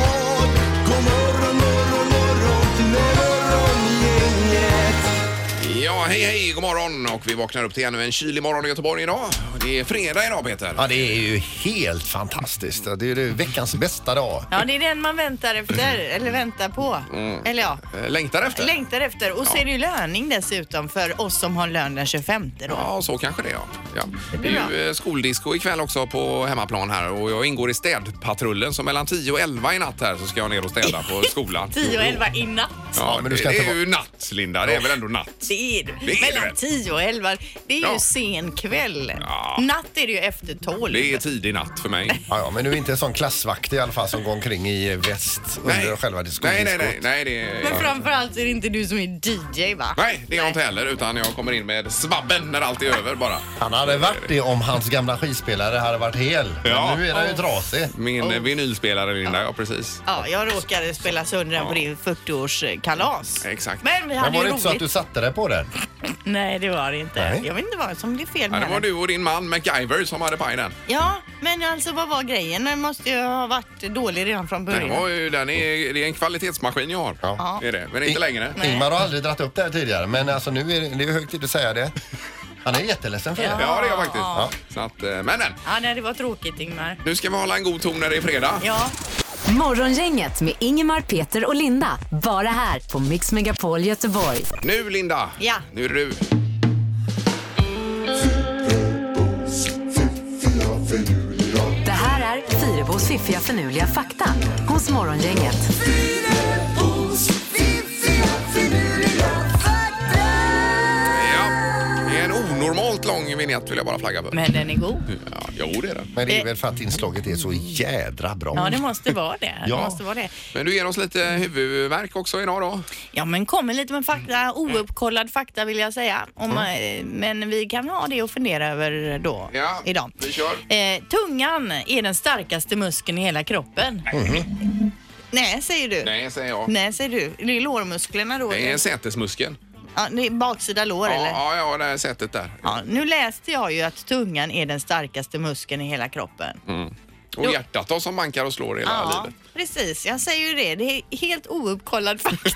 morgon och vi vaknar upp till ännu en kylig morgon i Göteborg idag. Det är fredag idag Peter. Ja, det är ju helt fantastiskt. Det är ju veckans bästa dag. Mm. Ja, det är den man väntar efter, eller väntar på. Eller ja, Eh, Längtar efter? längtar efter. Och så är det ju löning dessutom för oss som har lön den 25 då. Ja, så kanske det är, ja. ja. Det blir är bra. ju eh, skoldisco ikväll också på hemmaplan här och jag ingår i städpatrullen så mellan 10 och 11 i natt här så ska jag ner och städa på skolan. 10 och 11 i natt. Ja, men men du du ska det inte är vara- ju natt Linda, det är väl ändå natt? Det är det. Det är det. Mellan 10 och 11. Det är Ja. ju sen kväll. Ja. Natt är det ju efter 12. Det är tidig natt för mig. Ja, ja, men du är inte en sån klassvakt i alla fall som går omkring i väst under själva diskussionen. nej, nej, nej, nej, det är... Men framförallt är det inte du som är DJ va? Nej, det är jag inte heller utan jag kommer in med svabben när allt är över bara. Han hade varit det om hans gamla skivspelare hade varit hel. Men Ja. nu är den ju trasig. Min eh, vinylspelare Linda, ja precis. Ja, jag råkade spela sönder den på din 40-årskalas. Exakt. Men vi Men hade var ju det inte så att roligt. du satte dig på den? Nej, det var det inte. Nej. Jag vet inte vad som blev fel Ja, med det var den. du och din man MacGyver som hade pajden. Ja, men alltså vad var grejen? Den måste ju ha varit dålig redan från Den början. var ju, den är, det är en kvalitetsmaskin jag har. Ja. Är det, men inte längre. Nej. Ingmar har aldrig dragit upp det här tidigare, men alltså nu är det, det är hög tid att säga det. Han är jätteledsen för det. Ja, det är jag faktiskt. Så att, eh, men, men Ja, nej, det var tråkigt Ingmar. nu ska vi hålla en god ton när det är fredag. Ja, Morgongänget med Ingemar, Peter och Linda. Bara här på Mix Megapol Göteborg. Nu Linda, Ja. nu är det du. Det här är Fyrabos fiffiga förnuliga fakta hos Morgongänget. Ja, det är en onormalt lång vignett vill jag bara flagga för. men den är god. Ja, jo, det är den. Men det är väl för att inslaget är så jädra bra. Ja, det måste vara det. Ja. det, måste vara det. Men du ger oss lite huvudvärk också idag då. Ja, men kommer lite med Mm. fakta, ouppkollad fakta vill jag säga. Om, eh, Men vi kan ha det och fundera över då Ja, idag. vi kör. Eh, tungan är den starkaste muskeln i hela kroppen. Mm-hmm. Nej, säger du. Nej, säger jag. Nej, säger du. Det är lårmusklerna då. Det är eller? sätesmuskeln. Ja, det är baksida lår Ja, eller? ja, ja, det här sätet där. Ja, nu läste jag ju att tungan är den starkaste muskeln i hela kroppen. Mm. Och Jo. hjärtat då som bankar och slår hela Ja, livet. precis. Jag säger ju det. Det är helt ouppkollad fakta.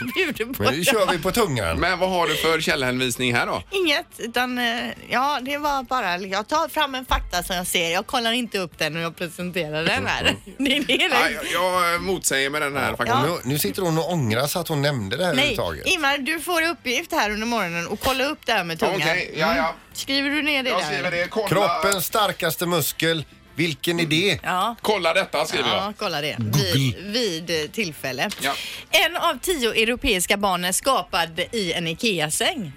jag bjuder på Men nu det. kör vi på tungan. Men vad har du för källhänvisning här då? Inget, utan eh, ja, det var bara... Jag tar fram en fakta som jag ser. Jag kollar inte upp den och jag presenterar den här. Det är det hela. Mm. Nej, jag, jag motsäger med den här faktiskt. Ja. Nu, nu sitter hon och ångrar sig att hon nämnde det här Nej, överhuvudtaget. Ingmar, du får i uppgift här under morgonen och kolla upp det här med tungan. Okej, ja, ja. Mm. Skriver du ner det Jag där? skriver det. Kolla, Kroppens starkaste muskel. Vilken är det? Mm. Ja. kolla detta skriver Ja, jag. kolla det. Vid, vid eh, tillfälle. Ja. En av tio europeiska barn är skapad i en IKEA-säng.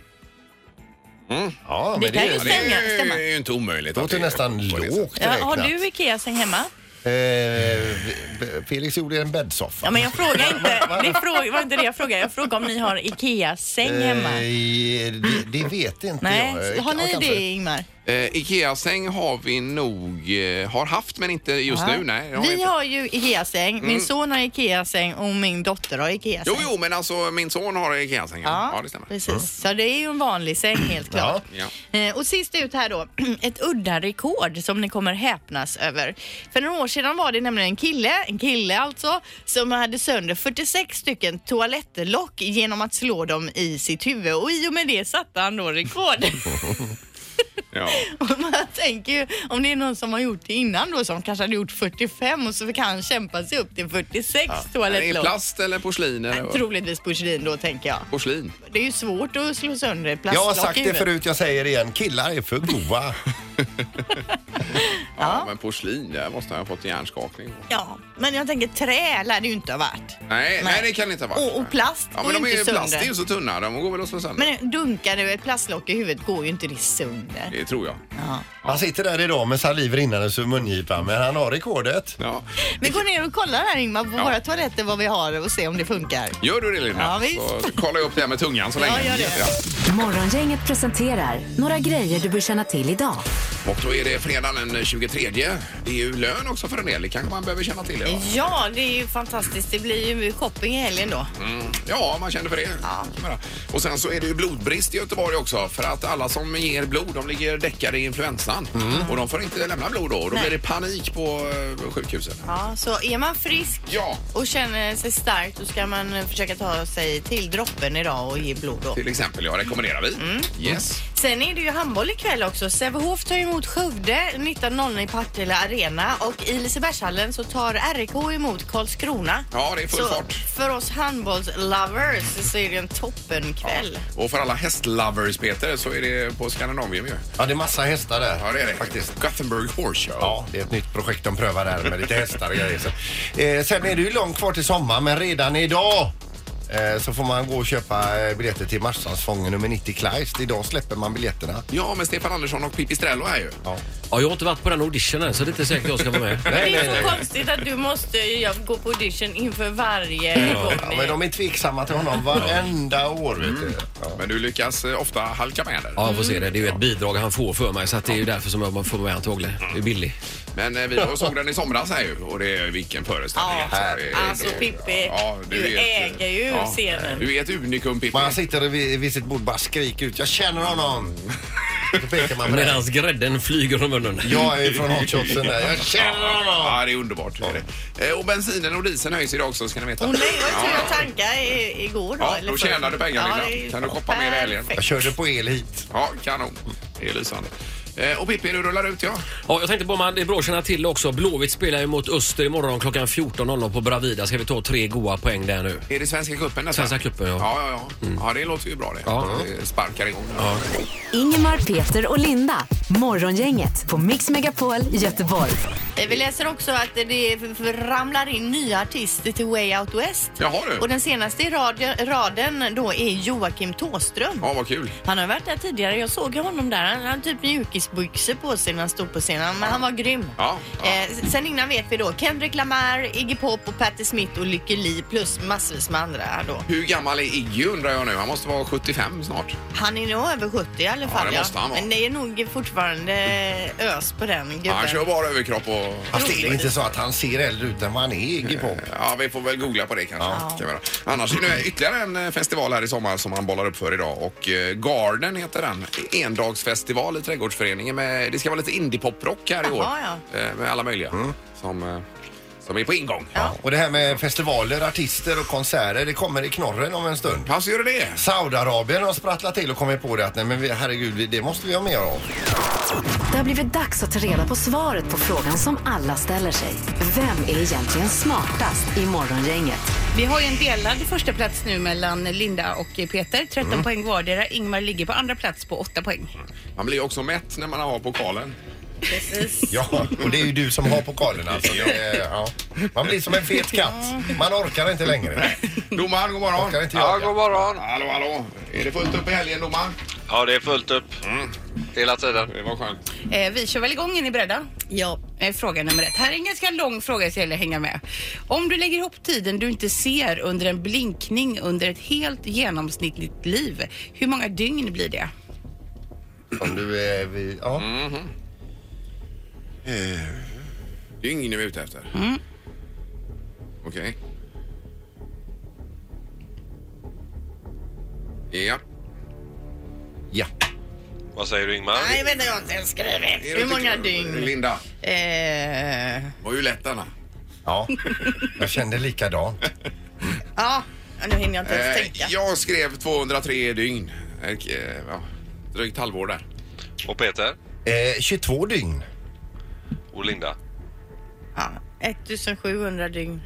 Ja, men Det kan ju det, stämma. Mm. Det är ju- stämma. är ju inte omöjligt. det att låter det är nästan på det lågt Ja, räknat. har du IKEA-säng hemma? Eh, Felix gjorde en bäddsoffa. Ja, men jag frågar inte. Det frå- var inte det jag frågade. Jag frågade om ni har IKEA-säng hemma. Eh, det, det vet inte Nej, jag. har Ja, ni kanske. det Ingmar? Eh, Ikea-säng har vi nog eh, har haft men inte just nu. Nej, det har vi Vi inte. Mm. har ju IKEA-säng. Min son har IKEA-säng och min dotter har IKEA-säng. Jo, jo, men alltså min son har Ikea-säng. Ja. Ja, ja, det stämmer. Mm. precis. Så det är ju en vanlig säng helt klart. Ja. Eh, Och sist ut här då, ett udda rekord som ni kommer häpnas över. För några år sedan var det nämligen en kille, en kille alltså, som hade sönder 46 stycken toalettlock genom att slå dem i sitt huvud och i och med det satte han då rekord. Ja. Och man tänker ju om det är någon som har gjort det innan då som kanske hade gjort 45 och så fick han kämpa sig upp till 46 Är det toalettlock. plast eller porslin? Eller? Troligtvis porslin då tänker jag. Porslin. Det är ju svårt att slå sönder ett Jag plastlock har i sagt det huvudet. förut, jag säger det igen. Killar är för goa. Ja, men porslin, där måste jag ha fått en hjärnskakning. på. Ja, men jag tänker trä lär det ju inte ha varit. Nej, nej. Nej. det kan det inte ha varit. Och, och plast Ja, går men de ju är ju inte plast sönder. är ju så tunna. De går väl att slå sönder. Men dunkar du ett plastlock i huvudet går ju inte det sönder. Det tror jag. Ja. Han sitter där idag med saliv rinnande ur mungipan, men han har rekordet. Ja. Vi går ner och kollar här Ingmar på Ja. våra toaletter vad vi har och ser om det funkar. Gör du det Linda? Ja, visst. Så kolla upp det här med tungan så Ja, länge. gör det. Ja. Morgongänget presenterar några grejer du bör känna till idag. Och då är det fredag den 23. Det är ju lön också för en del. Det kanske man behöver känna till. Ja, Ja, det är ju fantastiskt. Det blir ju shopping i helgen då. mm. ja man känner för det. Ja. Och sen så är det ju blodbrist i Göteborg också. För att alla som ger blod, de ligger däckade i influensan. Mm. Och de får inte lämna blod då. Då blir Nej. det panik på eh, sjukhusen. Ja, så är man frisk Ja. och känner sig stark då ska man eh, försöka ta sig till droppen idag och ge blod då. Till exempel, jag rekommenderar vi. Mm. Yes. Sen är det ju handboll ikväll också. Sävehof tar emot Skövde 19.00 i Partille Arena och i Lisebergshallen så tar RIK emot Karlskrona. Ja, det är full så fart. för oss handbollslovers så är det en toppenkväll. Och för alla hästlovers, Peter, så är det på Scandinavium ju. Ja, det är massa hästar där. Ja, det är det. Faktiskt. Gothenburg Horse Show. Ja, det är ett nytt projekt de prövar där med lite hästar och grejer. Så- Eh, sen är det ju långt kvar till sommar, men redan idag eh, så får man gå och köpa eh, biljetter till Marstrandsfången nummer 90 Kleist. Idag släpper man biljetterna. Ja, men Stefan Andersson och Pippi Strello är ju. Ja. Ja, jag har inte varit på den auditionen så det är inte säkert jag ska vara med. Det är så konstigt att du måste ja, gå på audition inför varje gång. Ja, men de är tveksamma till honom varenda år. Vet du. Ja. Mm. Men du lyckas eh, ofta halka med där. Ja, jag får se det. Det är ju ett bidrag han får för mig så att det är ju därför som jag får vara med antagligen. Det är billig. Men eh, vi var och såg den i somras här ju och det är vilken föreställning. Ja, det är- alltså, Pippi, du äger ju scenen. Du är ett unikum Pippi. Man sitter vid, vid sitt bord och bara skriker ut Jag känner honom! Då pekar man på det. Medans grädden flyger från munnen. Jag är från hotshotsen där. Jag känner honom! Ja, det är underbart. det är det. Eh, Och bensinen och dieseln höjs idag också ska ni veta. Hon nej, jag tror jag ja. tankade i- igår då. Ja, eller då förr. tjänar du pengar, Linda. det är Kan du shoppa mer i helgen? Jag perfekt. körde på el hit. ja, kanon. Det är lysande. Eh, Och Pippi, du rullar ut ja. Ja, jag tänkte på man, det är bra att känna till också. Blåvitt spelar ju mot Öster imorgon klockan 14.00 på Bravida. Ska vi ta tre goa poäng där nu? Är det Svenska cupen detta? Svenska cupen, ja. Ja, ja, ja. Mm. ja det låter ju bra det. Ja. Det sparkar igång. Ingemar, Peter och Linda. Morgongänget på Mix Megapol Göteborg. Eh, Vi läser också att det f- f- ramlar in nya artister till Way Out West. Jaha du. Och den senaste i radio, raden då är Joakim Tåström. Ja, vad kul. Han har varit där tidigare. Jag såg honom där. Han hade typ mjukisbyxor på sig när han stod på scenen. Men han var grym. Ja, ja. Eh, s- sen innan vet vi då Kendrick Lamar, Iggy Pop och Patti Smith och Lykke Li plus massvis med andra här då. Hur gammal är Iggy undrar jag nu? Han måste vara 75 snart. Han är nog över 70 i alla fall. det måste han vara. Men det är nog fortfarande ös på den Ja, gubben. han kör bara överkropp och... Fast det är inte så att han ser äldre ut än vad han är, Iggy Pop. Ja, vi får väl googla på det kanske. Ja. Kan vi göra. Annars är det ytterligare en eh, festival här i sommar som han bollar upp för idag och eh, Garden heter den. Endagsfestival i trädgårdsföreningen. Med, det ska vara lite indie-poprock här i år. Jaha, Eh, Med alla möjliga Mm. som, eh, som är på ingång. Ja. Och det här med festivaler, artister och konserter, det kommer i knorren om en stund. Pass gör det det. Saudiarabien har sprattlat till och kommit på det att nej men vi- herregud, vi- det måste vi ha mer av. Det har blivit dags att ta reda på svaret på frågan som alla ställer sig. Vem är egentligen smartast i Morgongänget? Vi har ju en delad första plats nu mellan Linda och Peter. 13 poäng vardera. Ingmar ligger på andra plats på 8 poäng. Man blir ju också mätt när man har pokalen. Ja, och det är ju du som har pokalen alltså. Det, är- ja. Man blir som en fet katt. Man orkar inte längre. Domaren, god morgon. Orkar inte Ja, jaga. god morgon. Hallå, hallå. Är det fullt upp i helgen, domaren? Ja, det är fullt upp. Hela tiden. Mm. Det var skönt. Eh, vi kör väl igång. Är ni beredda? Ja. Eh, fråga nummer ett. Här är en ganska lång fråga så jag gäller att hänga med. Om du lägger ihop tiden du inte ser under en blinkning under ett helt genomsnittligt liv, hur många dygn blir det? Om du är vid, ja. Mhm. Dygn Eh, är vi ute efter. Mm. Okej. Ja. ja. Vad säger du Ingmar? Nej, vänta, jag har inte ens skrivit. Hur många dygn? Linda, Eh, var ju lätt denna. Ja, jag kände likadant. ja, nu hinner jag inte ens Eh, tänka. jag skrev 203 dygn. Eh, ja, drygt halvår där. Och Peter? Eh, 22 dygn. Och Linda? Ja, 1700 dygn.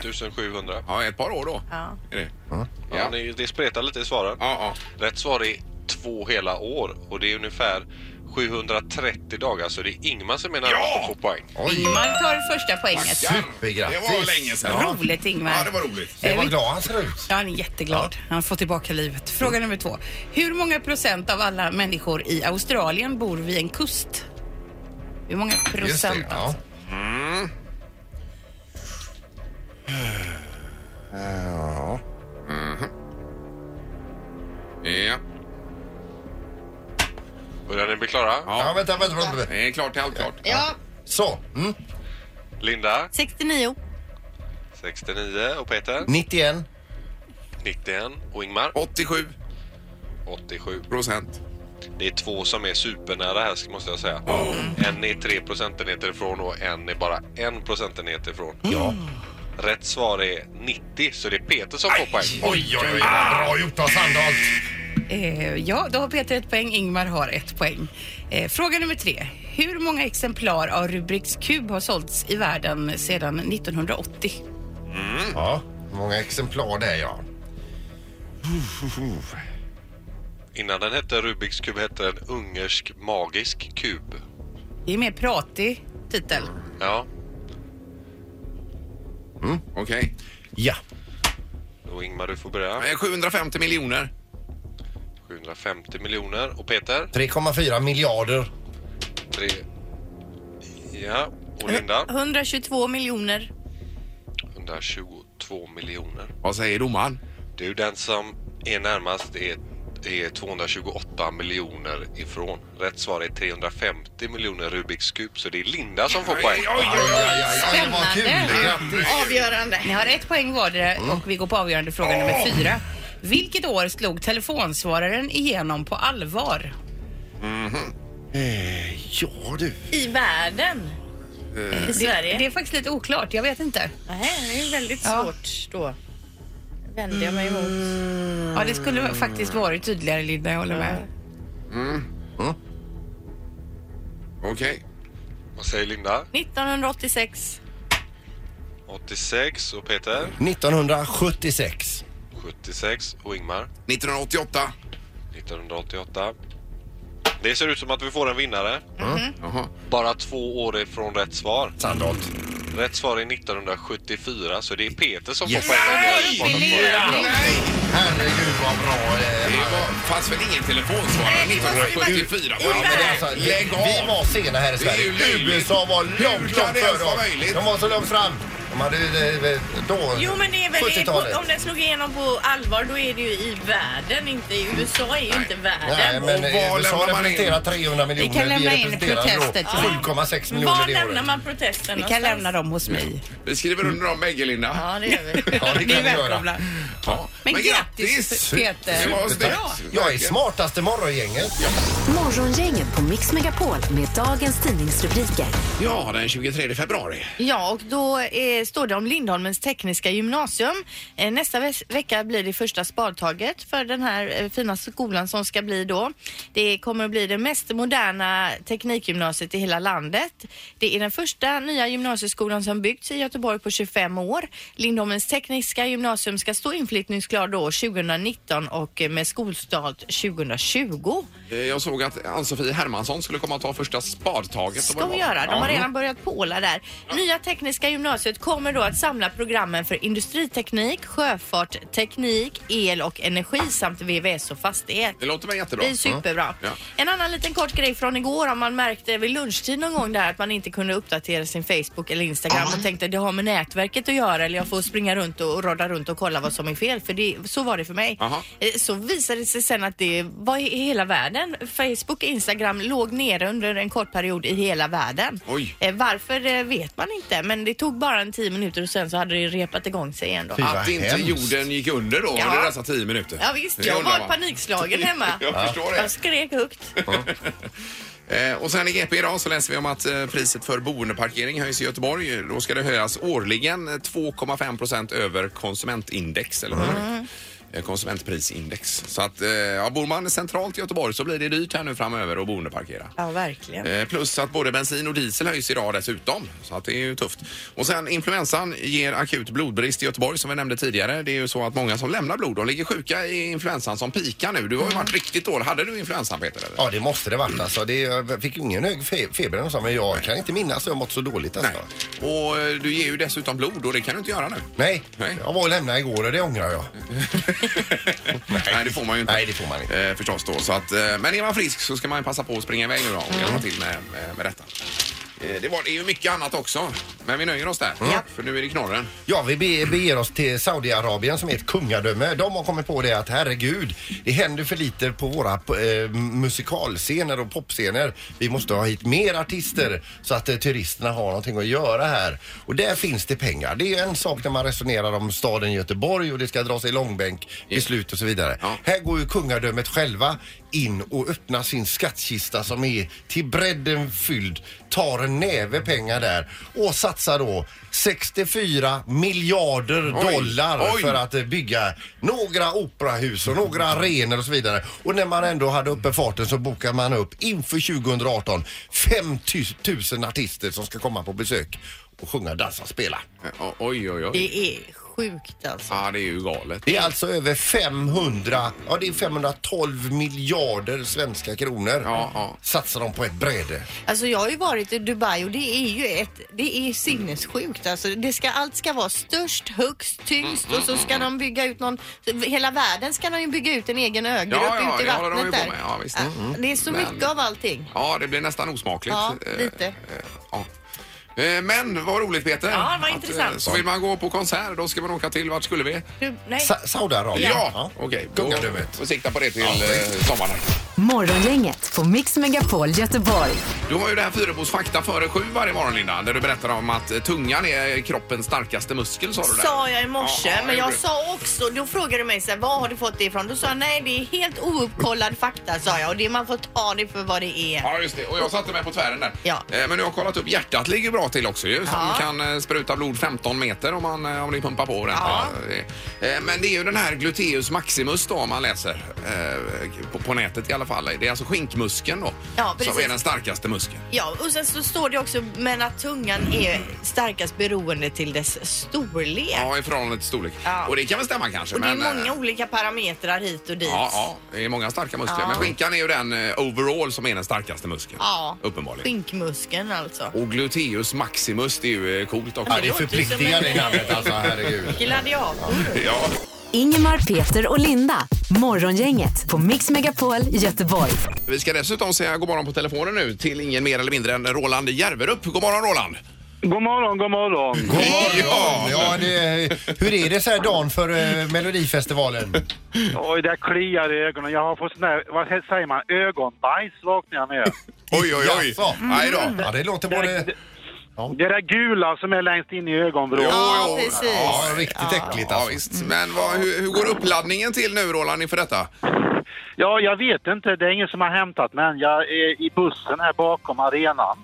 1700. Äh. Ja, ett par år då. Ja. Är det? Ja, Ja. ni, det spretar lite i svaren. Ja, ja. Rätt svar är två hela år och det är ungefär 730 dagar så det är Ingmar som är närmast Ja! att få poäng. Oj, Ingmar tar första poänget. Det Supergrattis. var länge sedan. Ja. Roligt Ingmar. Ja, det var roligt. det var glad han ser ut. Ja, han är jätteglad. Han får tillbaka livet. Fråga nummer två. Hur många procent av alla människor i Australien bor vid en kust? Hur många Just det, procent? ja. Mm. Eh, Mm-hmm. Ja. Börjar ni bli klara? Ja, Ja, vänta, vänta. vänta, vänta. det är klart, det är allt klart. Ja, Så. Mm. Linda, 69. 69 och Peter, 91. 91 och Ingmar, 87 87. procent. Det är två som är supernära här ska- måste jag säga. En är tre procentenheter ifrån och en är bara en procentenhet ifrån. Ja. Rätt svar är 90, så det är Peter som får poäng. Oj, oj, oj. Ah, Bra gjort av Sandholt. Eh, ja, då har Peter ett poäng, Ingmar har ett poäng. Eh, fråga nummer tre. Hur många exemplar av Rubiks kub har sålts i världen sedan 1980? Mm. Ja. Många exemplar där, ja. Innan den hette Rubiks kub hette den ungersk magisk kub. Det är mer pratig titel. Ja, Okej. Ja. och Ingmar du får börja. Eh, 750 miljoner. 750 miljoner och Peter? 3,4 miljarder. Tre. Ja, och Linda? 122 miljoner. 122 miljoner. Vad säger domaren? Det är ju den som är närmast är, är 228 miljoner ifrån. Rätt svar är 350 miljoner Rubiks kub, så det är Linda som får poäng. Aj, det var kul. Spännande. Grattis. Avgörande. Ni har ett poäng vardera och vi går på avgörande fråga nummer fyra. Vilket år slog telefonsvararen igenom på allvar? Mm-hmm. Eh, Ja, du. I världen. I Sverige. Det är faktiskt lite oklart, jag vet inte. Nej, det är ju väldigt Ja. svårt då. Vänder jag mig emot. Ja, det skulle faktiskt varit tydligare Linda, jag håller med. Mm. Okej. Vad säger Linda? 1986. 86 och Peter? 1976. 76 och Ingmar? 1988. 1988. Det ser ut som att vi får en vinnare. Mm. Jaha. Bara två år ifrån rätt svar. Sandholt. Rätt svar är 1974, så det är Peter som Yes. får poäng. Herregud, vad bra. eh, Det var- fanns väl ingen telefonsvarare 1974? I Ja, men det är alltså, Lägg vi av. var sena här i Det är ju Sverige. löjligt. USA var Hur långt, kan långt det ens före vara oss. möjligt? De var så långt fram. De hade ju, eh, då, Jo men det är väl, 70-talet. om den slog igenom på allvar då är det ju i världen, inte i USA är ju inte Nej, världen. men Och vad eh, USA lämnar man in? representerar 300 miljoner. Vi kan lämna in representerar då protester till- 7,6 miljoner Var det lämnar året. man protesten Vi kan någonstans? lämna dem hos mig. Vi skriver under dem bägge, Linda. Ja, det gör vi. Ja, det Ni kan är vi göra. välkomna. Ja. Men grattis, Peter. Det var snyggt. Tack. Jag är smartaste morgongänget. Morgongänget på Mix Megapol med dagens tidningsrubriker. Ja, den 23 februari. Ja, och då eh, står det om Lindholmens tekniska gymnasium. Eh, nästa ve vecka blir det första spadtaget för den här eh, fina skolan som ska bli då. Det kommer att bli det mest moderna teknikgymnasiet i hela landet. Det är den första nya gymnasieskolan som byggts i Göteborg på 25 år. Lindholmens tekniska gymnasium ska stå inflyttningsklar då 2019 och eh, med skolstart 2020. Eh, Jag såg att Ann-Sofie Hermansson skulle komma att ta första spadtaget. ska vi göra. De har Mm. redan börjat påla där. Nya Tekniska gymnasiet kommer då att samla programmen för industriteknik, sjöfart, teknik, el och energi samt VVS och fastighet. Det låter mig jättebra. Det är superbra. Ja. En annan liten kort grej från igår om man märkte vid lunchtid någon gång där att man inte kunde uppdatera sin Facebook eller Instagram och tänkte det har med nätverket att göra eller jag får springa runt och och rodda runt och kolla vad som är fel för det, så var det för mig. Aha. Eh, Så visade det sig sen att det var i hela världen. Facebook och Instagram låg nere under en kort period i hela världen. Oj. Eh, Varför eh, vet man inte men det tog bara en tio minuter och sen så hade det repat igång sig igen då. Fy. Att Vad inte hemskt. jorden gick under då Ja. under dessa tio minuter. Ja visst, Det jag undrar var man. panikslagen hemma. Jag förstår det. Jag skrek högt. Eh, Och sen i GP idag så läser vi om att eh, priset för boendeparkering höjs i Göteborg. Då ska det höjas årligen eh, 2,5 procent över konsumentindex. Eller vad det Mm. heter. Eh, Konsumentprisindex. Så att eh, ja, bor man centralt i Göteborg så blir det dyrt här nu framöver att boendeparkera. Ja verkligen. Eh, Plus att både bensin och diesel höjs idag dessutom. Så att det är ju tufft. Och sen influensan ger akut blodbrist i Göteborg som vi nämnde tidigare. Det är ju så att många som lämnar blod, de ligger sjuka i influensan som pikar nu. Du har ju varit riktigt dålig. Hade du influensan Peter? Eller? Ja, det måste det varit alltså. Det, jag fick ju ingen hög fe- feber och så, men jag kan inte minnas att jag mått så dåligt alltså. Nej. Och eh, du ger ju dessutom blod och det kan du inte göra nu. Nej. Nej. jag var och lämnade igår och det ångrar jag. Nej, det får man ju inte. Nej, det får man inte. Eh, Mm. förstås då. Så att, eh, men är man frisk så ska man ju passa på att springa iväg nu då och hjälpa till eh, med, med, med detta. Eh, Det, var, det är ju mycket annat också, men vi nöjer oss där. För nu är det knorren. Ja, vi be- beger oss till Saudiarabien som är ett kungadöme. De har kommit på det att herregud, det händer för lite på våra eh, musikalscener och popscener. Vi måste ha hit mer artister så att eh, turisterna har någonting att göra här. Och där finns det pengar. Det är ju en sak när man resonerar om staden Göteborg och det ska dras i långbänk, beslut och så vidare. Ja. Här går ju kungadömet själva in och öppnar sin skattkista som är till bredden fylld, tar en näve pengar där och satsar då 64 miljarder Oj. dollar Oj. för att eh, bygga några operahus och några arenor och så vidare. Och när man ändå hade uppe farten så bokar man upp inför 2018 5 000 artister som ska komma på besök och sjunga, dansa, spela. Eh, o- Oj, oj, oj. Det är sjukt alltså. Ja, det är ju galet. Det är alltså över 500, ja det är 512 miljarder svenska kronor. Ja, ja. Satsar de på ett bräde. Alltså jag har ju varit i Dubai och det är ju ett, det är sinnessjukt. Alltså det ska, allt ska vara störst, högst, tyngst och så ska de bygga ut någon, hela världen ska de ju bygga ut en egen ögrupp Ja, ja, ut i det håller de vattnet ju på där. med. Ja, visst. Mm. Det är så Men- mycket av allting. Ja, det blir nästan osmakligt. Ja, Eh, lite. eh, ja. Eh, Men vad roligt Peter. Ja, det var eh, intressant. Så vill man gå på konsert, då ska man åka till, vart skulle vi? Du, nej. Sa- Saudiarabien. Ja, okej. då Kungadömet. får vi sikta på det till eh, sommaren. Morgongänget på Mix Megapol Göteborg. Du har ju det här Fyrebos fakta före sju varje morgon Linda, där du berättar om att eh, tungan är kroppens starkaste muskel sa du där. Sa jag i morse, Ja, ja, men det jag gjorde du. sa också, då frågade du mig så här, var har du fått det ifrån? Då sa jag nej, det är helt ouppkollad fakta sa jag och det man får ta det för vad det är. Ja, just det. Och jag satte mig på tvären där. Ja. Eh, Men nu har jag kollat upp, hjärtat ligger bra till också ju. Som Ja. kan eh, spruta blod 15 meter om, man, eh, om ni pumpar på ordentligt. Ja. Eh, Men det är ju den här gluteus maximus då, om man läser eh, på, på nätet i alla fall. Det är alltså skinkmuskeln då, Ja, precis. som är den starkaste muskeln. Ja, och sen så står det också men att tungan är starkast beroende till dess storlek. Ja, i förhållande till storlek. Ja. Och det kan väl stämma kanske. Och det är men, eh, många olika parametrar hit och dit. Ja, ja, det är många starka muskler. Ja. Men skinkan är ju den eh, overall som är den starkaste muskeln. Ja. Uppenbarligen. Skinkmuskeln alltså. Och gluteus maximus, det är ju eh, coolt också. Ja, det är förpliktigande i namnet alltså, herregud. Gladiator. Ja. Ingemar, Peter och Linda. Morgongänget på Mix Megapol Göteborg. Vi ska dessutom säga god morgon på telefonen nu till ingen mer eller mindre än Roland Järverup. God morgon Roland! God morgon, god morgon. God Ja. morgon! Ja, det, hur är det så här dagen för eh, Melodifestivalen? Oj, där kliar i ögonen. Jag har fått sån där, vad he- säger man, ögonbajs vaknar jag med. Oj, oj, oj! Mm. Jaså? Nej då. Ja, det låter Det, både... det, det där gula som är längst in i ögonvrån. Ja, precis. Ja, riktigt äckligt Ja, alltså. visst. Men vad, hur, hur går uppladdningen till nu Roland inför detta? Ja, jag vet inte. Det är ingen som har hämtat mig än. Jag är i bussen här bakom arenan.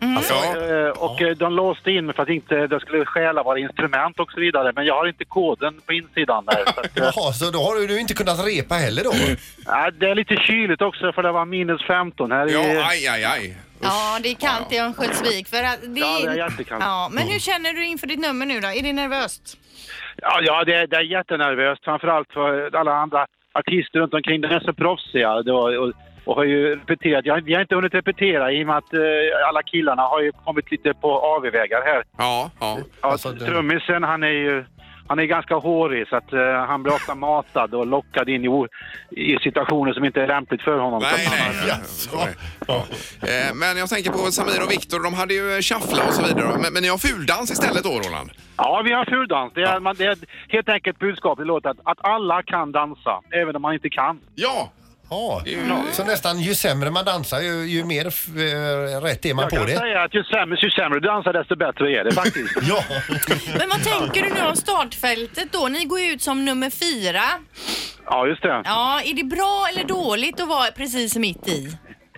Mm. Alltså, Ja. Eh, Och eh, de låste in mig för att inte de skulle stjäla våra instrument och så vidare. Men jag har inte koden på insidan där. Så att, eh, Jaha, så då har du du inte kunnat repa heller då? ja, det är lite kyligt också för det var minus 15 här Ja, i... aj, aj, aj. Ja, det är kallt i Örnsköldsvik. För att det Ja, det är jättekallt. Ja, men Mm. hur känner du inför ditt nummer nu då? Är det nervöst? Ja, ja det, är- det är jättenervöst. Framförallt för alla andra artister runt omkring. De är så proffsiga. Det var, och, och har ju repeterat. Jag, vi har inte hunnit repetera i och med att eh, alla killarna har ju kommit lite på AV-vägar här. Ja, ja. Ja, Alltså, det- Trummisen han är ju han är ganska hårig så att eh, han blir ofta matad och lockad in i, o- i situationer som inte är lämpligt för honom. Nej, Så att han- nej. Jaså? Ja. Eh, Men jag tänker på Samir och Viktor, de hade ju eh, shuffla och så vidare. Men, men ni har fuldans istället då Roland? Ja, vi har fuldans. Det är, man, det är helt enkelt budskapet i låten att, att alla kan dansa, även om man inte kan. Ja! Ja. Så nästan ju sämre man dansar ju, ju mer eh, rätt är man Jag på kan det. säga att ju sämre, ju sämre du dansar desto bättre är det faktiskt. Ja. Men vad tänker du nu om startfältet då? Ni går ju ut som nummer fyra. ja, just det. Ja, är det bra eller dåligt att vara precis mitt i?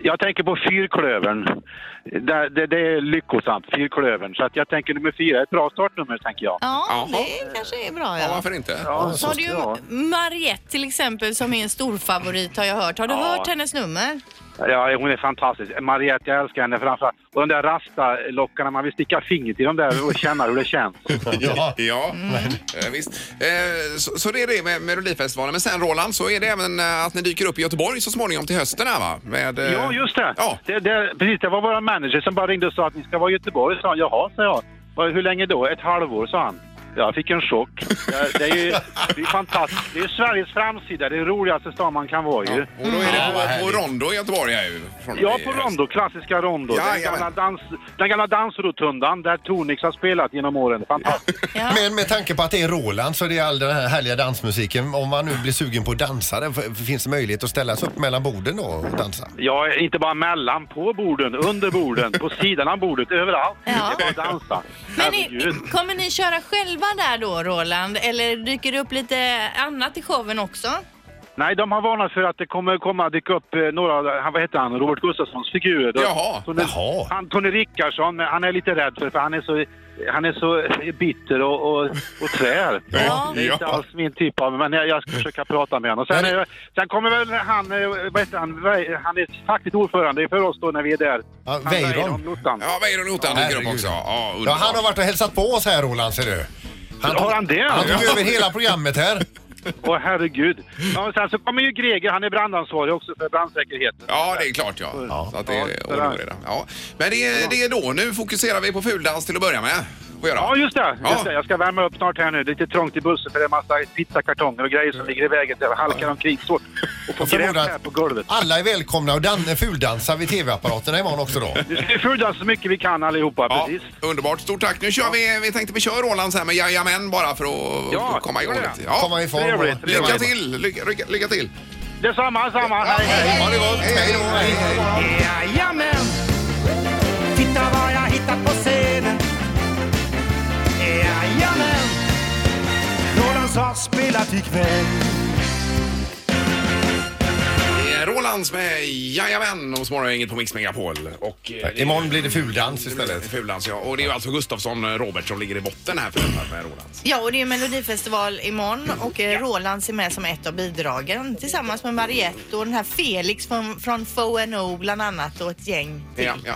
Jag tänker på fyrklövern. Det, det, det är lyckosamt, fyrklövern. Så att jag tänker nummer fyra är ett bra startnummer, tänker jag. Ja, Jaha. det kanske är bra Ja, ja. varför inte? Ja, Så har du ja. ju Mariette till exempel som är en stor favorit har jag hört. Har du Ja. hört hennes nummer? Ja, hon är fantastisk. Mariette, jag älskar henne framförallt. Och de där rasta lockarna, man vill sticka fingret i dem där och känna hur det känns. ja. Mm. Ja, eh, visst. Eh, så, så det är det med Melodifestivalen. Men sen Roland, så är det även eh, att ni dyker upp i Göteborg så småningom till hösten här va? Med, eh, Ja, just det. Ja. det, det precis, det var vår manager som bara ringde och sa att ni ska vara i Göteborg. Sa han, jaha, sa jag. "Och Hur länge då? Ett halvår, sa han. Jag fick en chock. Det, det är ju det är fantastiskt. Det är Sveriges framsida. Det är roligaste stan man kan vara ju. Och då är det på, på Rondo i Göteborg här ju. från och Ja, med på höst. Rondo. Klassiska Rondo. den, Jajamän. gamla dans, den gamla dansrotundan där Tonix har spelat genom åren. Fantastiskt. Ja. Men med tanke på att det är Roland så det är all den här härliga dansmusiken. Om man nu blir sugen på att dansa, det f- finns det möjlighet att ställa sig upp mellan borden då och dansa? Ja, inte bara mellan, på borden, under borden, på sidan av bordet, överallt. Ja. Det är bara att dansa. Men i, Herregud. kommer ni köra själva där då, Roland? Eller dyker det upp lite annat i showen också? Nej, de har varnat för att det kommer komma dyka upp eh, några, han, vad heter han, Robert Gustafssons figurer. Då- Jaha, Tony, jaha. Han, Tony Rickardsson, men han är lite rädd för, för han är så, han är så bitter och, och, och tvär. Ja. Det är inte alls min typ av, men jag, jag ska försöka prata med honom. Sen, Men- eh, sen kommer väl han, eh, vad heter han, Ve- han är faktiskt ordförande för oss då när vi är där. Ja, Han Weiron. Weiron, Lottan. Ja, Weiron och Notan dyker upp Herregud. också. Ja, Ja, underbart. han har varit och hälsat på oss här Roland ser du. Han, Har han det? han tog Ja. över hela programmet här. Åh herregud. Ja, men sen så kommer ju Greger, han är brandansvarig också för brandsäkerheten. Ja, det är klart ja. Så att det är Ja, ordning och reda. Ja. Men det är, det är då. Nu fokuserar vi på fuldans till att börja med. Får göra. Ja, just det. Ja. Just det. Jag ska värma upp snart här nu. Det är lite trångt i bussen för det är en massa pizzakartonger och grejer som ligger i vägen. Jag halkar omkring svårt och får gräs Förmodar här att på golvet. alla är välkomna och dan- fuldansa vid tv-apparaterna imorgon också då. Vi ska ju fulla så mycket vi kan allihopa, Ja, precis. underbart. Stort tack. Nu kör vi. Vi tänkte vi kör Ålands här med jajamän bara för att Ja, komma igång gör det. lite. Ja. Komma i form. Trevligt, och- trevligt. Lycka till! Lycka, lycka, lycka till! Detsamma, detsamma. Hej, hej. Ha det gott. Hej då. Hej, hej. Jajamän! Titta vad jag hittat på scenen Jajamän! Rolands har spelat ikväll Eh, Rolands med jajamän hos Morgongänget på Mix Megapol. Och, eh, det- Imorgon blir det fuldans istället. Fulans, ja. Och det är ju alltså Gustafsson eh, Robert som ligger i botten här för den här med Rolands. Ja, och det är Melodifestival imorgon och eh, Roland är med som ett av bidragen tillsammans med Mariette och den här Felix från, från FNO bland annat och ett gäng. Ja, ja.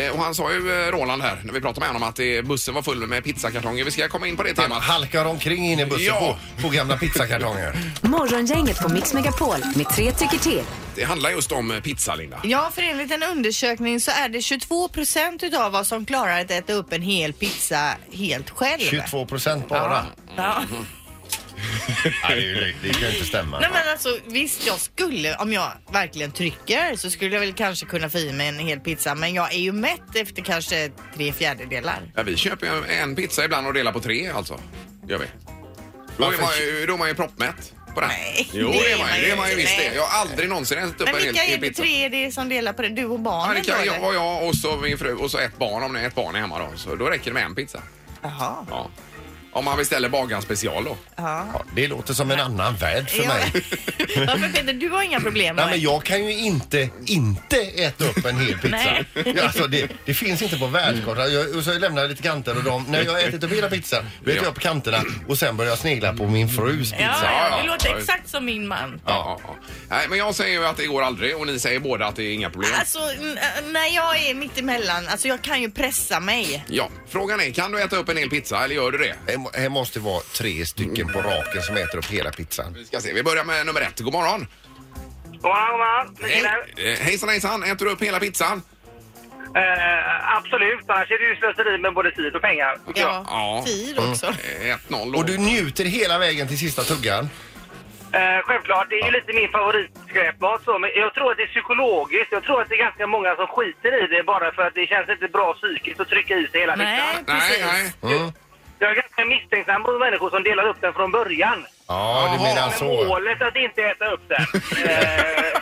Eh, Och han sa ju eh, Roland här när vi pratade med honom att eh, bussen var full med pizzakartonger. Vi ska komma in på det Han temat. halkar omkring in i bussen Ja. på, på gamla pizzakartonger. Morgongänget på Mix Megapol med tre tycker till. Det handlar just om eh, pizza, Linda. Ja, för enligt en undersökning så är det 22 procent utav vad som klarar att äta upp en hel pizza helt själv. 22 procent bara. Ja. Nej, det, är ju- det kan ju inte stämma. Nej men alltså visst jag skulle, om jag verkligen trycker så skulle jag väl kanske kunna få i mig en hel pizza men jag är ju mätt efter kanske tre fjärdedelar. Ja, vi köper ju en- en pizza ibland och delar på tre alltså. Gör vi. Då är Varför? man ju, då är man ju proppmätt på den. Nej, Jo, det är man ju. Det är man ju visst Nej. det. Jag har aldrig någonsin ätit upp Men en hel, vilka är hel det pizza. tre det är som delar på det? Du och Ja, barnen det då, kan jag eller? och jag och så min fru och så ett barn om det är ett barn hemma då. Så då räcker det med en pizza. Jaha. Ja. Om man beställer bagaren special då. Ja. Ja, det låter som en annan värld för Ja. mig. Varför Peter, du har inga problem Nej, med men jag kan ju inte inte äta upp en hel pizza. Nej. Ja, alltså, det, det finns inte på världskartan. Jag, och så lämnar jag lite kanter och de, när jag har ätit upp hela pizzan, vet Ja. jag upp kanterna och sen börjar jag snegla på min frus Ja, pizza. ja, ja, det låter ja. exakt som min man. Ja, ja, ja. Nej, men jag säger ju att det går aldrig och ni säger båda att det är inga problem. Alltså, n- när jag är mitt emellan, alltså jag kan ju pressa mig. Ja, frågan är kan du äta upp en hel pizza eller gör du det? Det må- Det måste vara tre stycken på raken som äter upp hela pizzan. Vi ska se. Vi börjar med nummer ett. God morgon. God morgon. Hej. Eh, Hejsan hejsan. Äter du upp hela pizzan? Eh, absolut, annars är det ju slöseri med både tid och pengar. Ja, Ja. tid också. Eh, 1-0 då. Mm. Och du njuter hela vägen till sista tuggan. Eh, självklart, det är ju lite min favoritskräpmat så, men jag tror att det är psykologiskt. Jag tror att det är ganska många som skiter i det bara för att det känns inte bra psykiskt att trycka i sig hela Nej, veckan. Nej, precis. nej. Mm. Jag är ganska misstänksam mot människor som delar upp den från början. Ja, du menar Med så. målet att inte äta upp den. eh, eh,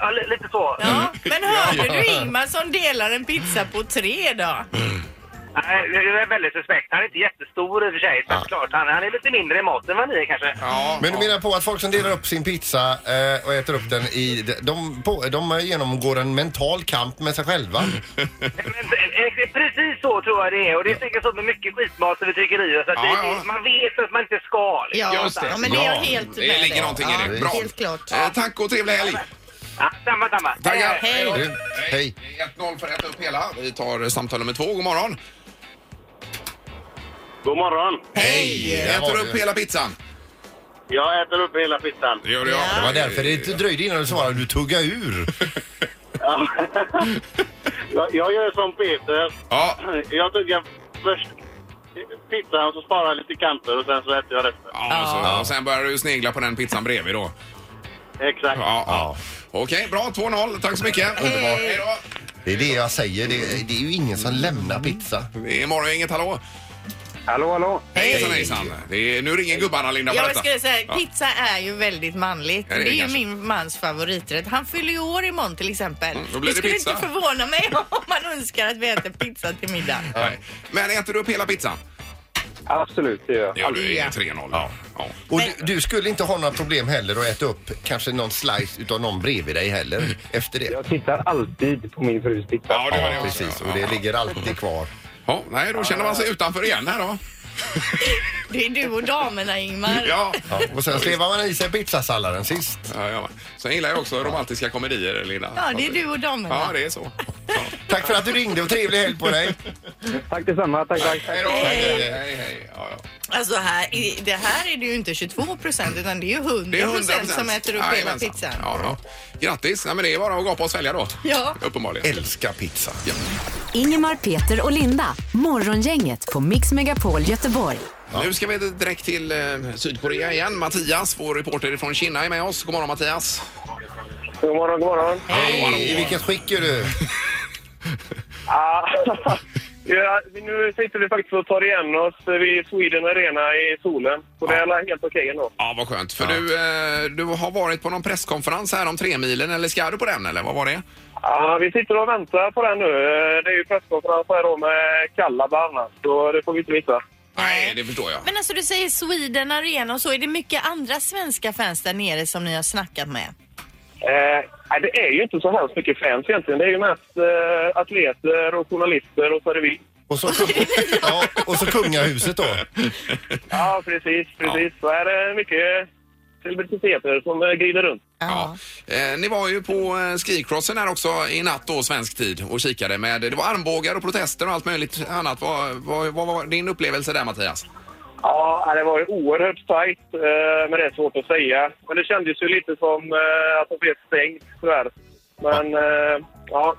ja, li- lite så. Ja, men hörde du Ingmar som delar en pizza på tre då? Nej, det är väldigt suspekt. Han är inte jättestor i och för sig. Så Ja. klart, han, han är lite mindre i maten än vad ni är kanske. Ja, Men du menar på att folk som delar upp sin pizza eh, och äter upp den i... De, de, på, de genomgår en mental kamp med sig själva. Men, eh, precis så tror jag det är. Och det är säkert så med mycket skitmat som vi trycker i oss. Att Ja, det, ja. Man vet att man inte ska. liksom. Ja, Just det. ja, men det är jag Ja, helt det med ligger dig. någonting i ja, det. Bra. Helt klart. Eh, tack och trevlig helg! Ja, samma, samma. Tackar! Hej. då. Hej. Hej. 1-0 för att äta upp hela. Vi tar eh, samtal nummer två. God morgon! God morgon. Hej! Där var Äter du upp du. hela pizzan? Jag äter upp hela pizzan. Det gör du, ja. Det var därför det dröjde innan du svarade. Du tuggade ur. Jag, jag gör som Peter. Ja, Jag tuggar först pizzan och så sparar jag lite kanter och sen så äter jag resten. Ja, så, ja. Och sen börjar du snegla på den pizzan bredvid då. Exakt. Ja, ja. Okej, bra. 2-0. Tack så mycket. Underbart. Hej då. Det är det jag säger. Det, det är ju ingen som lämnar pizza. Det är morgon, inget hallå. Hallå, hallå! Hejsan, hejsan. Det är, nu ringer gubbarna, Linda, på Jag detta. skulle säga, pizza är ju väldigt manligt. Ja, Det det är är, det ju kanske. min mans favoriträtt. Han fyller ju år imorgon till exempel. Mm, då blir det skulle pizza. inte förvåna mig om man önskar att vi äter pizza till middag. Nej. Men äter du upp hela pizzan? Absolut, det gör jag. Det gör du. Ja. 3-0. Ja. Ja. Och du, du skulle inte ha några problem heller att äta upp kanske någon slice utav någon bredvid dig heller efter det. Jag tittar alltid på min frus pizza. Ja, det var det Ja, också. precis. Och det ligger alltid kvar. Ja, nej, då känner man sig utanför igen här då. Det är du och damerna Ingmar. Ja. Ja, och sen slevar man i sig pizzasalladen sist. Ja, ja. Sen gillar jag också romantiska komedier, Linda. Ja, det är du och damerna. Ja, det är så. Ja. Tack för att du ringde och trevlig helg på dig. Tack detsamma, tack, tack. Hej då! Hej, hej, hej. Ja, ja. Alltså här, i- det här är det ju inte 22 procent utan det är ju 100, Det är 100 procent som äter upp hela Jajamensan. pizzan. Ja, då. Grattis! Nej, men det är bara att gapa och svälja då. Ja. Uppenbarligen. Älskar pizza. Ja. Ingemar, Peter och Linda. Morgongänget på Mix Megapol Göteborg. Nu ska vi direkt till eh, Sydkorea igen. Mattias, vår reporter från Kina, är med oss. God morgon Mattias! God morgon, god morgon. Hej, i vilket skick är du? Ah, ja, nu sitter vi faktiskt och tar igen oss vid Sweden Arena i solen. Så det är alla helt okej ändå. Ja, vad skönt. För du, eh, du har varit på någon presskonferens här om tre milen eller ska du på den eller vad var det? Ja, vi sitter och väntar på den nu. Eh, Det är ju presskonferens här då med Kalla bland annat, så det får vi inte missa. Nej, det förstår jag. Men alltså du säger Sweden Arena och så, är det mycket andra svenska fans där nere som ni har snackat med? Eh, nej, det är ju inte så hemskt mycket fans egentligen. Det är ju mest eh, atleter och journalister och så är det vi. Och så, ja, och så kungahuset då. Ja, precis, precis. Så är det mycket celebriteter som eh, glider runt. Ja. Eh, ni var ju på eh, skicrossen här också i natt då, svensk tid, och kikade med. Det var armbågar och protester och allt möjligt annat. Vad, vad, vad var din upplevelse där Mattias? Ja, det var ju oerhört tajt, eh, men det är svårt att säga. Men det kändes ju lite som eh, att de blev stängt, tyvärr. Men eh, ja,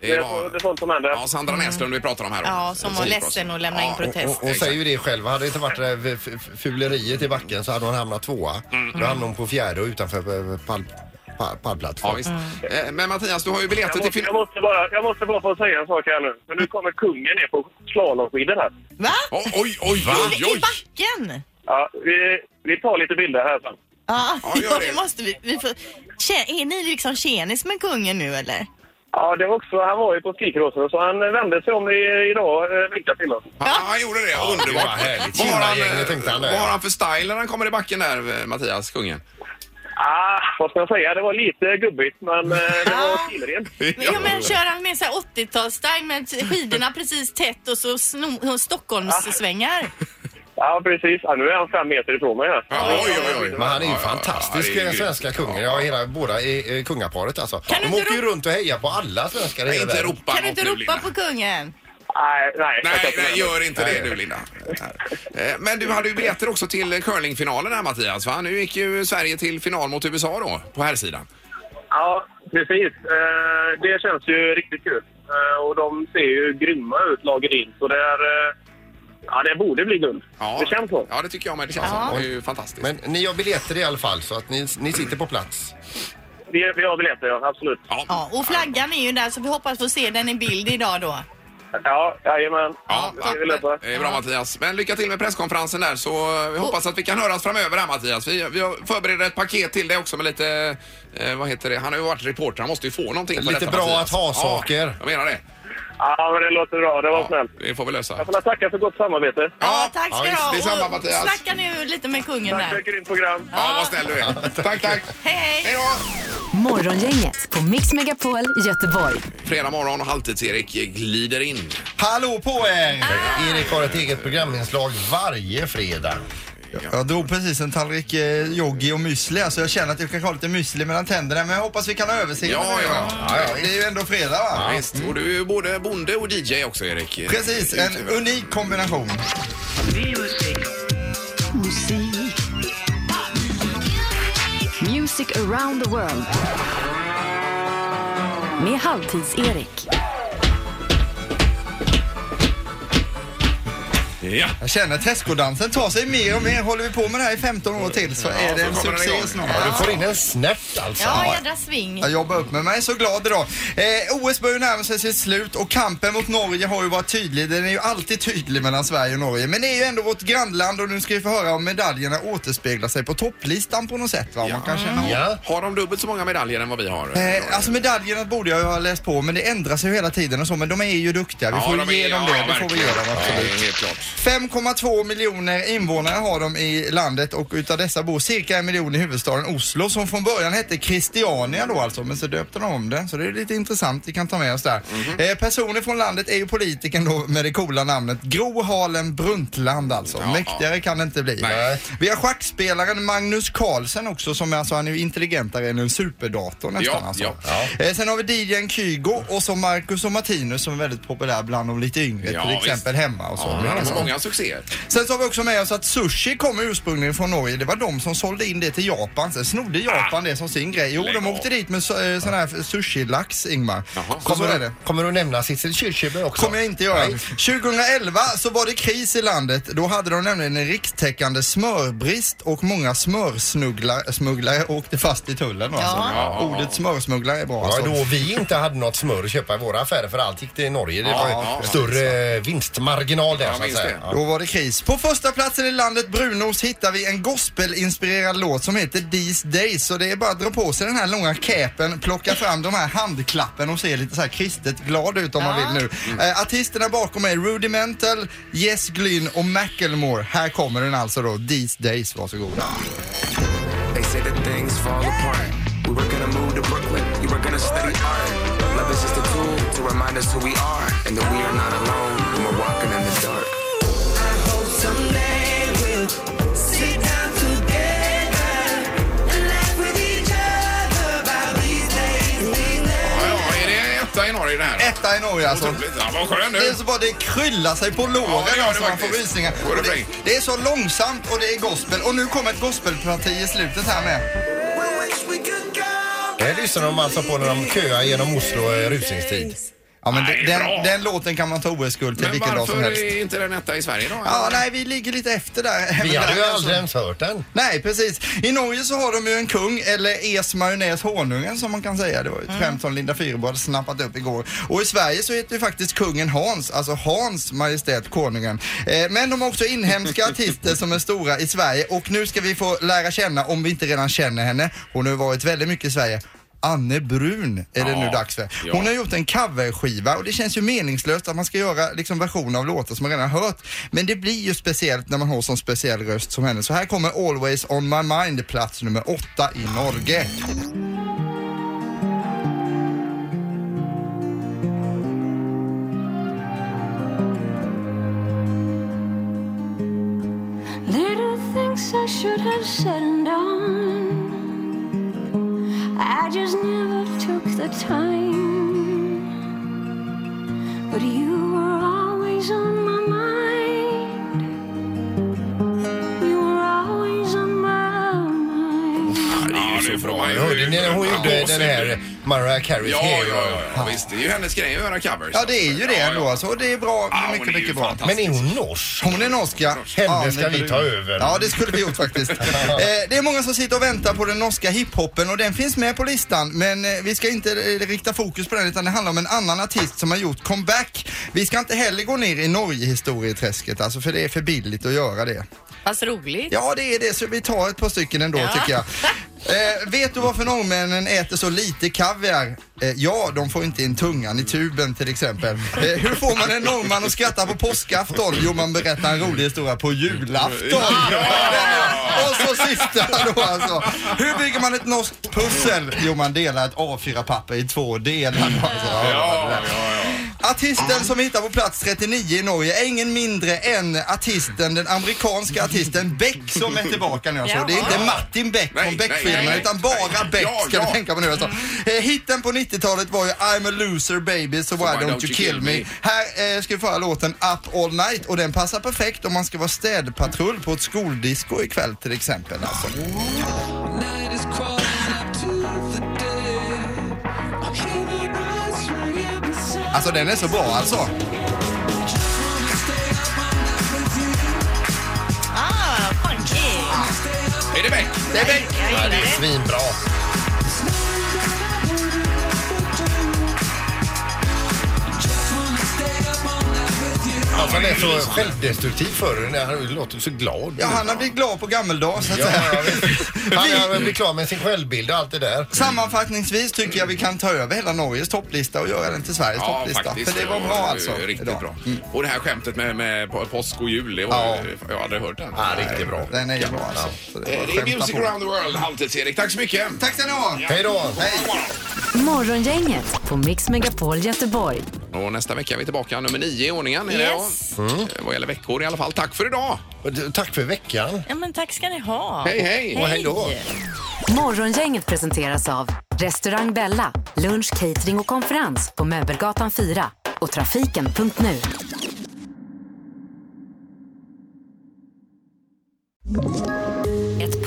det är, så, det är sånt som händer. ja, Sandra Näslund vi pratar om här. då. Ja, som var Skicrossen. ledsen att lämna in protest. Hon säger ju det själv. Hade det inte varit det här f- f- fuleriet i backen så hade hon hamnat tvåa. Mm. Då hamnade hon på fjärde och utanför eh, pall, pall, Ja, pallplattformen. visst. Eh, Men Mattias, du har ju biljetter Jag till måste, jag, final. måste bara, jag måste bara få säga en sak här nu. För nu kommer kungen ner på slalomskidor här. Va? Oj, oj, oj, oj, I oj! backen? Ja, vi, vi tar lite bilder här sen. Ja, Ja, ja, gör det. det måste vi. vi får... Tje- Är ni liksom tjenis med kungen nu eller? Ja, det var också, han var ju på skikrossen så han vände sig om i, idag, eh, vinkade till oss. Ja, han gjorde det. det var Underbart. härligt. Vad har han, eh, Tjena-gänget tänkte han där. vad har han för style när han kommer i backen där, eh, Mattias, kungen? Ah, vad ska jag säga? Det var lite gubbigt, men eh, det var stilrent. Men, ja, men kör han med så här 80-talsstyle med skidorna precis tätt och så sno- Stockholmssvängar? Ja, precis. Ja, nu är han fem meter ifrån mig här. Ja, oj, oj, oj. Men han är ju Ja, ja, ja, fantastisk, det är den ju- svenska kungen. Ja, hela, båda i, eh, kungaparet alltså. Kan De du inte åker ju runt och hejar på alla svenskar i Nej, hela inte världen. ropa Kan du något inte nu, liksom. ropa Linda. på kungen? Nej, nej. jag kan Nej, inte nej, göra gör inte det nu Linda. Eh, Men du hade ju biljetter också till curlingfinalen här Mattias va? Nu gick ju Sverige till final mot USA då, på här sidan. det. Ja, precis. Eh, Det känns ju riktigt kul. Eh, Och de ser ju grymma ut, lagen in. Så det är... eh, Ja, det borde bli guld. Det känns så. Ja, det tycker jag med. Det känns Ja. som. Det är ju fantastiskt. Men ni har biljetter i alla fall så att ni, ni sitter på plats. Vi, vi har biljetter, ja. Absolut. Ja, och flaggan är ju där så vi hoppas få se den i bild idag då. Ja, jajamän. Ja, Det ska vi lösa. Det är bra Mattias. Men lycka till med presskonferensen där så eh, vi hoppas att vi kan höras framöver här Mattias. Vi, vi har- förbereder ett paket till dig också med lite, eh, vad heter det, han har ju varit reporter, han måste ju få någonting på Lite detta, bra Mattias. att ha saker. Ja, jag menar det. Ja, men det låter bra. Det var Ja, snällt. det får vi lösa. Jag får tacka för gott samarbete. Ja, tack ska ja, du visst, ha. Detsamma Och Mattias. Snacka nu lite med kungen Tack för där. ett grymt program. Ja, vad snäll du är. tack, tack. Hej, hej. Hej då! Morgongänget på Mix Megapol Göteborg. Fredag morgon och Halvtids-Erik glider in. Hallå på er! Erik har ett eget programinslag varje fredag. Jag drog precis en tallrik eh, yogi och müsli här, så jag känner att jag kanske har lite müsli mellan tänderna men jag hoppas vi kan ha överseende Ja, med det, ja. va? Ja, ja, Det är ju ändå fredag va? Visst, och du är ju både bonde och DJ också Erik. Precis, en unik kombination. Music around the world. Med Halvtids-Erik. Ja. Jag känner att träskodansen tar sig mer och mer. Håller vi på med det här i 15 år till så är det en succé snart. Ja, du får in en snärt alltså. Ja, jädra sving. Jag jobbar upp med mig, så glad idag. Eh, OS börjar ju närma sig sitt slut och kampen mot Norge har ju varit tydlig. Den är ju alltid tydlig mellan Sverige och Norge. Men det är ju ändå vårt grannland och nu ska vi få höra om medaljerna återspeglar sig på topplistan på något sätt. Va? Om Man kan känna av. Ja. Har de dubbelt så många medaljer än vad vi har? Eh, alltså medaljerna borde jag ju ha läst på men det ändrar sig ju hela tiden och så men de är ju duktiga. Vi Ja, får de ge är- dem ja, det. Det får vi verkligen. ge dem absolut. Ja, helt klart. 5,2 miljoner invånare har de i landet och utav dessa bor cirka en miljon i huvudstaden Oslo som från början hette Christiania då alltså men så döpte de om det så det är lite intressant vi kan ta med oss där. Mhm. eh, personer från landet är ju politikern då med det coola namnet Gro Harlem Brundtland alltså. Ja, Mäktigare kan det inte bli. Nej. Vi har schackspelaren Magnus Carlsen också som är alltså han är ju intelligentare än en superdator nästan Ja, alltså. ja. Eh, sen har vi DJn Kygo och så Marcus och Martinus som är väldigt populär bland de lite yngre Ja, till exempel hemma och så. Ja, Det är men de så. har många succéer. Sen så har vi också med oss att sushi kommer ursprungligen från Norge. Det var de som sålde in det till Japan. Sen snodde Ah. Japan det som sin grej. Jo, Lägg de av. åkte dit med så, eh, sån här sushi-lax, Ingmar. Jaha. Så, så Kommer är du, det. kommer du nämna Sissel Kyrkjebø också? kommer jag inte göra. Nej. 2011 så var det kris i landet. Då hade de nämligen en rikstäckande smörbrist och många smörsmugglare smugglare åkte fast i tullen. då, Alltså. Ja. Ordet smörsmugglare är bra. Ja, Alltså. då vi inte hade något smör att köpa i våra affärer för allt gick till Norge. Det Ja, var ju ja, större vinstmarginal där Ja, så att minst säga. det. Ja. Då var det kris. På första platsen i landet Brunos hittar vi en gospelinspirerad låt som heter These Days. Så det är bara att dra på sig den här långa capen, plocka fram de här handklappen och se lite så här kristet glad ut om man vill nu. Eh, artisterna bakom är Rudimental, Yes Glyn och Macklemore. Här kommer den alltså då, These Days. Varsågoda. They say that things fall apart. We were gonna move to Brooklyn, you were gonna study art. Love is just a tool to remind us who we are and that we are not alone when we're walking in the dark. Ja, ja, är det etta i Norge det här? Etta i Norge alltså. Otroligt. Ja, vad skön Det är nu. så bara det kryllar sig på låren Ja, det gör det alltså, man får faktiskt. rysningar. Går det Och det, fint? det är så långsamt och det är gospel. Och nu kommer ett gospelparti i slutet här med. Det lyssnar de alltså på när de köar genom Oslo i rusningstid. Ja, men Nej, den, bra. den låten kan man ta OS-guld till Men vilken dag som varför helst. är inte den etta i Sverige då? Ja, nej, vi ligger lite efter där. Vi Men hade ju där- aldrig ens hört den. alltså. Nej, precis. I Norge så har de ju en kung, eller es majonnäs honungen som man kan säga. Det var ju ett skämt som Linda Fyrebo hade snappat upp igår. Och i Sverige så heter ju faktiskt kungen Hans, alltså Hans Majestät Konungen. Eh, men de har också inhemska artister som är stora i Sverige och nu ska vi få lära känna, om vi inte redan känner henne, hon har ju varit väldigt mycket i Sverige. Anne Brun är det Ja. nu dags för. Ja. Hon har gjort en coverskiva och det känns ju meningslöst att man ska göra liksom versioner av låtar som man redan hört. Men det blir ju speciellt när man har sån speciell röst som henne. Så här kommer Always On My Mind, plats nummer åtta i Norge. Little things I should have said and done. I just never took the time. But you were always on my mind. You were always on my mind. Ja, nu får man ju... Hörde ni när hon gjorde Ja, den här Mariah Careys Ja, ja, Hero? ja, ja, visst. Det är ju hennes grej att göra covers. Ja, det är ju det Ja, ja. ändå alltså. Och Det är bra, Ja, hon är mycket, ju mycket bra. fantastisk. Men är hon norsk? Hon är norsk ja. Henne ska Anne vi Brun. ta över. Ja, det skulle vi gjort faktiskt. eh, det är många som sitter och väntar på den norska hiphopen och den finns med på listan. Men eh, vi ska inte eh, rikta fokus på den utan det handlar om en annan artist som har gjort comeback. Vi ska inte heller gå ner i Norge-historieträsket alltså för det är för billigt att göra det. Fast roligt. Ja, det är det. Så vi tar ett par stycken ändå tycker jag. Eh, vet du varför norrmännen äter så lite kaviar? Eh, ja, de får inte in tungan i tuben till exempel. Eh, hur får man en norrman att skratta på påskafton? Jo, man berättar en rolig historia på julafton. Den- Och så sista då alltså. Hur bygger man ett norskt pussel? Jo, man delar ett A4-papper i två delar. Alltså. Ja, ja, ja. Artisten som hittar på plats 39 i Norge är ingen mindre än artisten, den amerikanska artisten Beck som är tillbaka nu alltså. Det är inte Martin Beck Nej, från nej, Beck-filmen nej. utan bara Nej. Beck Ja, ska ja. du tänka på nu alltså. Eh, Hitten på 90-talet var ju I'm a loser baby so why don't you kill me. Här eh, ska vi föra låten Up all night och den passar perfekt om man ska vara städpatrull på ett skoldisco ikväll till exempel alltså. Alltså den är så bra alltså. Ah, Är det Beck? Det är Beck. Ja, det är svinbra. Alltså, han är så självdestruktiv förr. när Han låter så glad. Ja, han har blivit glad på gammeldag så att Ja, säga. ja, visst. Han har blivit klar med sin självbild och allt det där. Sammanfattningsvis tycker jag vi kan ta över hela Norges topplista och göra den till Sveriges Ja, topplista. faktiskt. För det var ju bra alltså. Riktigt idag. bra. Och det här skämtet med, med på- påsk och jul, det var, Ja. jag har aldrig hört den. Ja, riktigt bra. Den är ju bra alltså. Så Eh, bara Det att är skämta Music på. around the world, halvtids-Erik. Tack så mycket! Tack ska ni ha! Hej då! Morgongänget på Mix Megapol Göteborg. Och nästa vecka är vi tillbaka, nummer nio i ordningen. Är det, ja? Eh, Vad gäller veckor i alla fall. Tack för idag! Och Tack för veckan. Ja, men tack ska ni ha. Hej, hej! Och hej då. Morgongänget presenteras av Restaurang Bella, lunch, catering och konferens på Möbelgatan 4 och Trafiken.nu. Ett